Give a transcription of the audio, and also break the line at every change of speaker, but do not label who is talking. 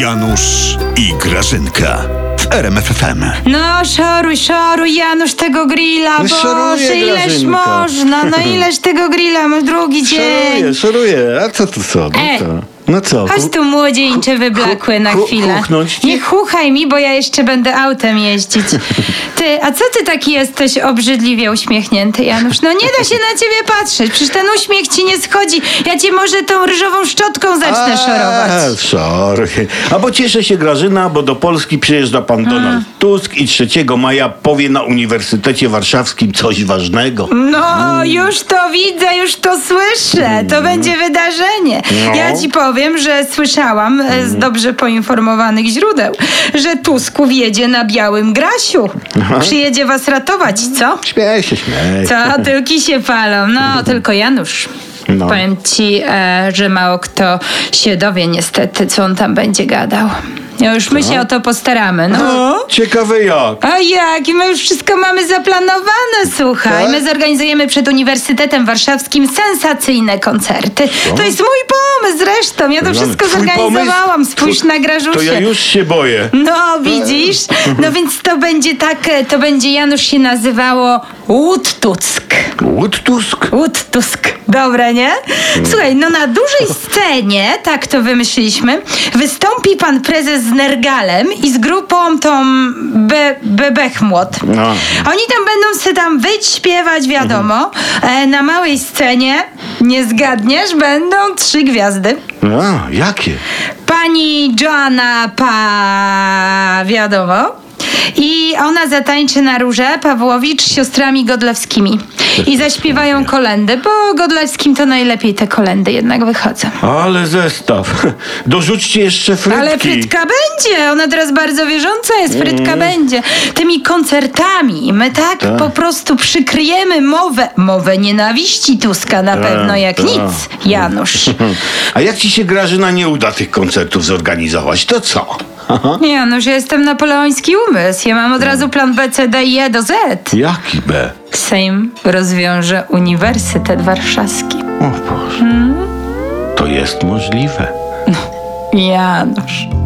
Janusz i Grażynka w RMFFM.
No, szoruj, szoruj, Janusz, tego grilla,
No,
Boże,
szoruje,
ileż
Grażynka.
można, no ileż tego grilla, my drugi dzień.
Szoruję, szoruję. A co tu co? No
E.
co? No co?
Chodź tu, młodzieńcze wyblakły na
hu-
chwilę.
huchnąć ci?
Nie chuchaj mi, bo ja jeszcze będę autem jeździć. Ty, a co ty taki jesteś obrzydliwie uśmiechnięty, Janusz? No nie da się na ciebie patrzeć, przecież ten uśmiech ci nie schodzi. Ja cię może tą ryżową szczotką
Eee,
zacznę szorować.
A, szoruj. A bo cieszę się Grażyna, bo do Polski przyjeżdża pan Donald Tusk i 3 maja powie na Uniwersytecie Warszawskim coś ważnego.
No, już to widzę, już to słyszę. To będzie wydarzenie.
Mm. No. Mm.
Ja ci powiem, że słyszałam e, z dobrze poinformowanych źródeł, że Tusków jedzie na białym grasiu. Przyjedzie was ratować, co?
Śmiej się, śmiej.
Co, tyłki się palą. No, tylko Janusz.
Mhm. No.
Powiem ci, e, że mało kto się dowie niestety, co on tam będzie gadał. No Już my się o to postaramy. No.
No, ciekawe jak.
A jak? I My już wszystko mamy zaplanowane, słuchaj.
Tak?
My zorganizujemy przed Uniwersytetem Warszawskim sensacyjne koncerty. To jest mój pomysł zresztą. Ja to wszystko
Twój
zorganizowałam.
pomysł?
Spójrz
To-
na Grażusię.
To ja już Tak. się boję.
No, widzisz? No więc to będzie tak, e, to będzie Janusz się nazywało Łódtuck.
Łód Tusk?
Łód Tusk. Dobre, nie? Słuchaj, no na dużej scenie, tak to wymyśliliśmy, wystąpi pan prezes z Nergalem i z grupą tą Be Bebechmłot.
No.
Oni tam będą se tam wyć, śpiewać, wiadomo. E, na małej scenie, nie zgadniesz, będą trzy gwiazdy.
A, jakie?
Pani Joanna Pa... wiadomo. I ona zatańczy na róże Pawłowicz z siostrami Godlewskimi. I
tak
zaśpiewają kolendy, bo Godlewskim to najlepiej te kolendy jednak wychodzą.
Ale zestaw. Dorzućcie jeszcze frytki. Mhm.
Ale frytka będzie! Ona teraz bardzo wierząca jest, frytka będzie. Tymi koncertami my tak,
Tak.
po prostu przykryjemy mowę, mowę nienawiści Tuska na pewno jak
tak.
nic, Janusz.
A jak ci się Grażyna nie uda tych koncertów zorganizować, to co?
Nie, no że jestem napoleoński umysł. Ja mam od razu plan B, C, D i E do Z.
Jaki B?
Sejm rozwiąże Uniwersytet Warszawski.
O Boże. To jest możliwe.
Janusz.